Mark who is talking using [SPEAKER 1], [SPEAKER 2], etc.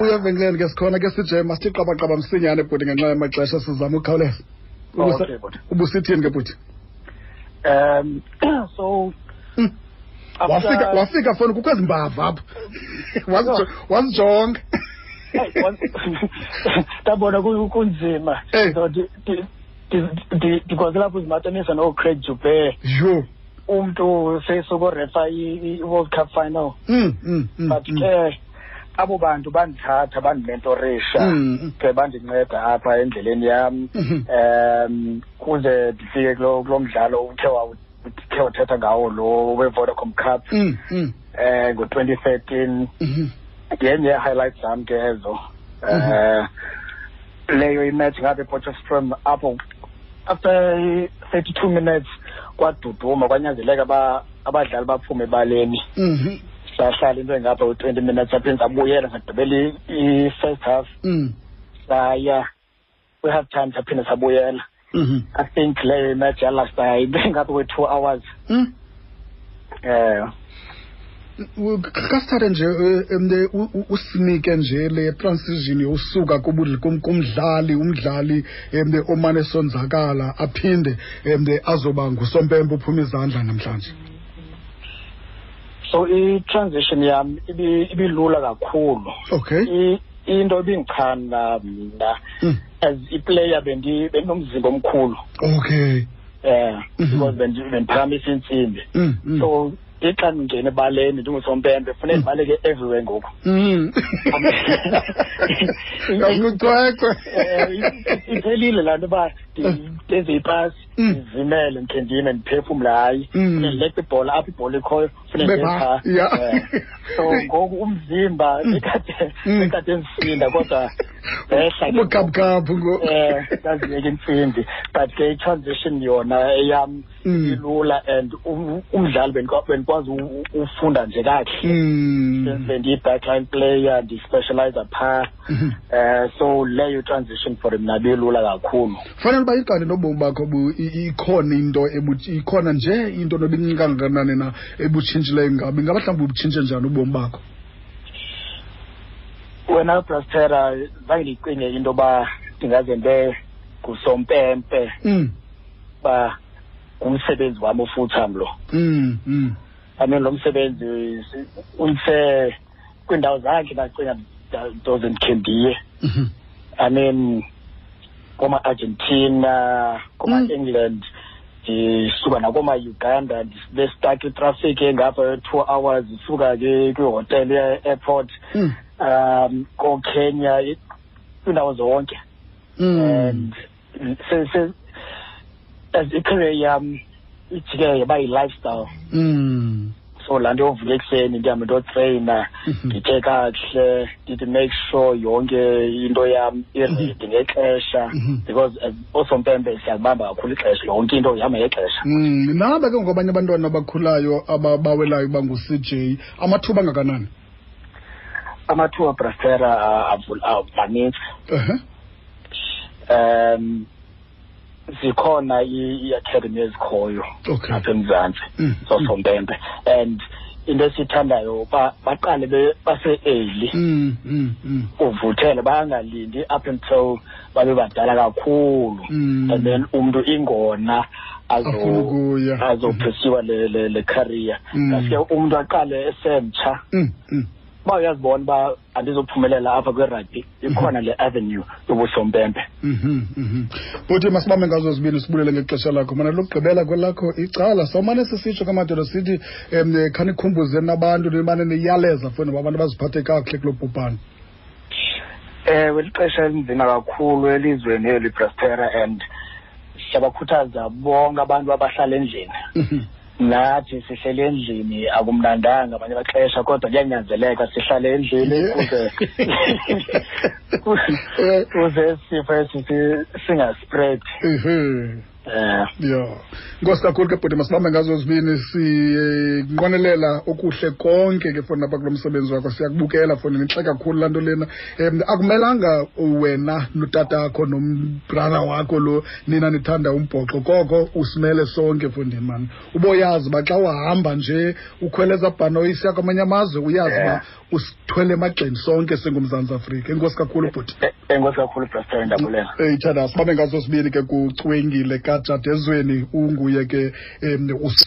[SPEAKER 1] uya evenkileni ke sikhona ke sije masiqabaqaba msinyane bhuti ngenxa yamaxesha sizama ukukhawuleza
[SPEAKER 2] Oh,
[SPEAKER 1] Ubusa-
[SPEAKER 2] okay, bhuti.
[SPEAKER 1] ubusithini ke bhuti
[SPEAKER 2] Um, so
[SPEAKER 1] Mm.
[SPEAKER 2] after-
[SPEAKER 1] wafika wafika foni kukho ezimbava apha Wazijo- wazijonga
[SPEAKER 2] Hey, once- ndabona ku- kunzima
[SPEAKER 1] Hey.
[SPEAKER 2] so di- di- di- di- because lapho uzimatanisa noocraig jubert
[SPEAKER 1] yho
[SPEAKER 2] eh. umntu sesokorefa i-world cup final
[SPEAKER 1] Mm, mm, mm,
[SPEAKER 2] but eh,
[SPEAKER 1] mm.
[SPEAKER 2] ke abo bantu bandithatha bandimentorisha
[SPEAKER 1] Mm, mm.
[SPEAKER 2] ke bandinceda apha endleleni yam
[SPEAKER 1] Mhm.
[SPEAKER 2] um kuze ndifike kulo kulo mdlalo uthe wawu- uthe wathetha ngawo lo we-vodacom cup
[SPEAKER 1] Mm, mm,
[SPEAKER 2] um ngo-twenty thirteen
[SPEAKER 1] mhm.
[SPEAKER 2] yenye highlights zam ke ezo um leyo imatch ngapha eportostrom apho after thirty two minutes kwaduduma kwanyanzeleka ba abadlali baphume ebaleni
[SPEAKER 1] Mhm,
[SPEAKER 2] sahlala into engapha u-twenty minutes aphinde sabuyela sagqibela i- i-first half
[SPEAKER 1] mm,
[SPEAKER 2] saya kwi-half time saphinde sabuyela
[SPEAKER 1] mhm.
[SPEAKER 2] i think leyo imatch yalasta into engapha kwe-two hours
[SPEAKER 1] Mm.
[SPEAKER 2] um
[SPEAKER 1] U- kasithathe nje eh, em, le, u- u- usinike nje le transition yosuka kubudl- kum- kumdlali umdlali em, le, omane esonzakala aphinde em, le, azoba ngusompempe uphuma izandla namhlanje
[SPEAKER 2] so i-transition yam ibi- ibilula kakhulu
[SPEAKER 1] okay
[SPEAKER 2] I- into ebindichanda mna
[SPEAKER 1] Mm.
[SPEAKER 2] as iplayer bendi- bendinomzimba omkhulu
[SPEAKER 1] okay
[SPEAKER 2] um
[SPEAKER 1] Mhm.
[SPEAKER 2] because bendi- bendiphakamisa iintsimbi
[SPEAKER 1] Mm, mm.
[SPEAKER 2] so ixa ndingena ebaleni ndingusompempe funeka
[SPEAKER 1] Mm.
[SPEAKER 2] ndibaleke everywhere ngoku
[SPEAKER 1] Mm. Akucwecwe.
[SPEAKER 2] Eh, i- iphelile laa nto uba ndi-
[SPEAKER 1] Mhm.
[SPEAKER 2] ndenze ipasi
[SPEAKER 1] Mm.
[SPEAKER 2] ndizimele ndikhe ndime ndiphefumle hayi
[SPEAKER 1] Mm.
[SPEAKER 2] ndileqa ibhola apho ibhola ikhoyo funeka ndiye
[SPEAKER 1] Beba.
[SPEAKER 2] phaa
[SPEAKER 1] Yeah.
[SPEAKER 2] Eh, so ngoku umzimba
[SPEAKER 1] Mm.
[SPEAKER 2] ikade
[SPEAKER 1] Mm.
[SPEAKER 2] ikade ndisinda kodwa ndehla ke ngoku.
[SPEAKER 1] Ubukhabukhaphu ngoku.
[SPEAKER 2] eh ndaziyeka intsimbi but ke i-transition yona eyam
[SPEAKER 1] Mm.
[SPEAKER 2] ilula and um- umdlali bendikwa- bendikwazi u- u- ufunda nje kakuhle
[SPEAKER 1] Mm.
[SPEAKER 2] bendiyi-backline player ndispecialize phaa
[SPEAKER 1] Mhm.
[SPEAKER 2] eh so leyo transition for mna belula kakhulu
[SPEAKER 1] fanele uba iqale nobomi bakho bu- i- ikhona into ebu- ikhona nje into nobincinkanganani na ebutshintshileyo ngabe ingaba mhlawumbi ubutshintshe njani ubomi bakho
[SPEAKER 2] wena brastera zange ndiyicinge into yoba ndingaze nto ngusompempe
[SPEAKER 1] Mm,
[SPEAKER 2] uba ngumsebenzi wam ufulltime lo
[SPEAKER 1] mm, mm.
[SPEAKER 2] I mean lo msebenzi si- undise kwiindawo zakhe ndacinga nda- ndoze ndikhe ndiye
[SPEAKER 1] Mhm.
[SPEAKER 2] I mean kooma-argentina kooma-england ndisuka nakooma-uganda ndibe stuck itraffic engapha ye-two hours ndisuka ke kwihotele ye-airport
[SPEAKER 1] Mm,
[SPEAKER 2] um kookenya i- kwiindawo zonke
[SPEAKER 1] mm.
[SPEAKER 2] and se- se- as i-career yam ijike yaba yi-lifestyle
[SPEAKER 1] Mm.
[SPEAKER 2] so laa nto yovuka ekuseni ndihambe ndotreyina
[SPEAKER 1] Mhm.
[SPEAKER 2] nditye kakuhle ndithi make sure yonke into yam iredi ngexesha
[SPEAKER 1] Mhm.
[SPEAKER 2] because as osompempe siyalibamba kakhulu ixesha yonke into ihamba ngexesha
[SPEAKER 1] Mm, nabe ke ngokabanye abantwana abakhulayo ababawelayo uba ngu-cj amathuba angakanani
[SPEAKER 2] amathuba brastera uh, manintsi
[SPEAKER 1] ehe
[SPEAKER 2] um zikhona i- iacademy ezikhoyo
[SPEAKER 1] okay
[SPEAKER 2] apha emzantsi
[SPEAKER 1] Mm, mm,
[SPEAKER 2] zosompempe and into esiyithandayo ba- baqale be- base-eli
[SPEAKER 1] mm, mm, mm,
[SPEAKER 2] uvuthele bangalindi up until babe badala kakhulu
[SPEAKER 1] Mm.
[SPEAKER 2] and then umntu ingona
[SPEAKER 1] Afuna ukuya.
[SPEAKER 2] azophesiwa le, le, le career
[SPEAKER 1] Mm.
[SPEAKER 2] ngaske umntu aqale esemtsha
[SPEAKER 1] mm, mm.
[SPEAKER 2] uba uyazibona uba andizophumelela apha kwi-rugby ikhona le avenue yobusompempe
[SPEAKER 1] Mhm, mhm. buthi masibambe ngazo zibini sibulele ngexesha lakho mana lokugqibela kwelakho icala sawumane sisitsho kamadoda sithi um khanikhumbuze nabantu nimane niyaleza funa uba abantu baziphathe kakuhle kulo bhubhane
[SPEAKER 2] ewe lixesha elinzima kakhulu elizweni eli prospera and siyabakhuthaza bonke abantu abahlala endlini
[SPEAKER 1] Mhm,
[SPEAKER 2] nathi sihleli endlini akumnandanga abanye abaxesha kodwa kuyanyanzeleka sihlale endlini
[SPEAKER 1] Yeah.
[SPEAKER 2] kuze
[SPEAKER 1] Eh,
[SPEAKER 2] kuze- kuze isifo esi si- singaspread
[SPEAKER 1] ehe.
[SPEAKER 2] eh
[SPEAKER 1] ya inkosi kakhulu ke bhuti masibambe ngazo zibini sinqwanelela okuhle konke ke foni lapha kulo msebenzi wakho siyakubukela foni intle kakhulu laa nto lena um akumelanga wena notatakho nombrana wakho lo nina nithanda umbhoxo koko usimele sonke fondini mani uboyazi uba xa uhamba nje ukhwele ezabhano isiya kwamanye amazwe uyazi uba
[SPEAKER 2] Yeah.
[SPEAKER 1] usithwele emagxini sonke singumzantsi afrika inkosi kakhulu bhuti
[SPEAKER 2] Eh, enkosi kakhulu brastar ndabulela
[SPEAKER 1] eyithandaza babe ngazo sibini ke kucwengile kajadezweni unguye ke um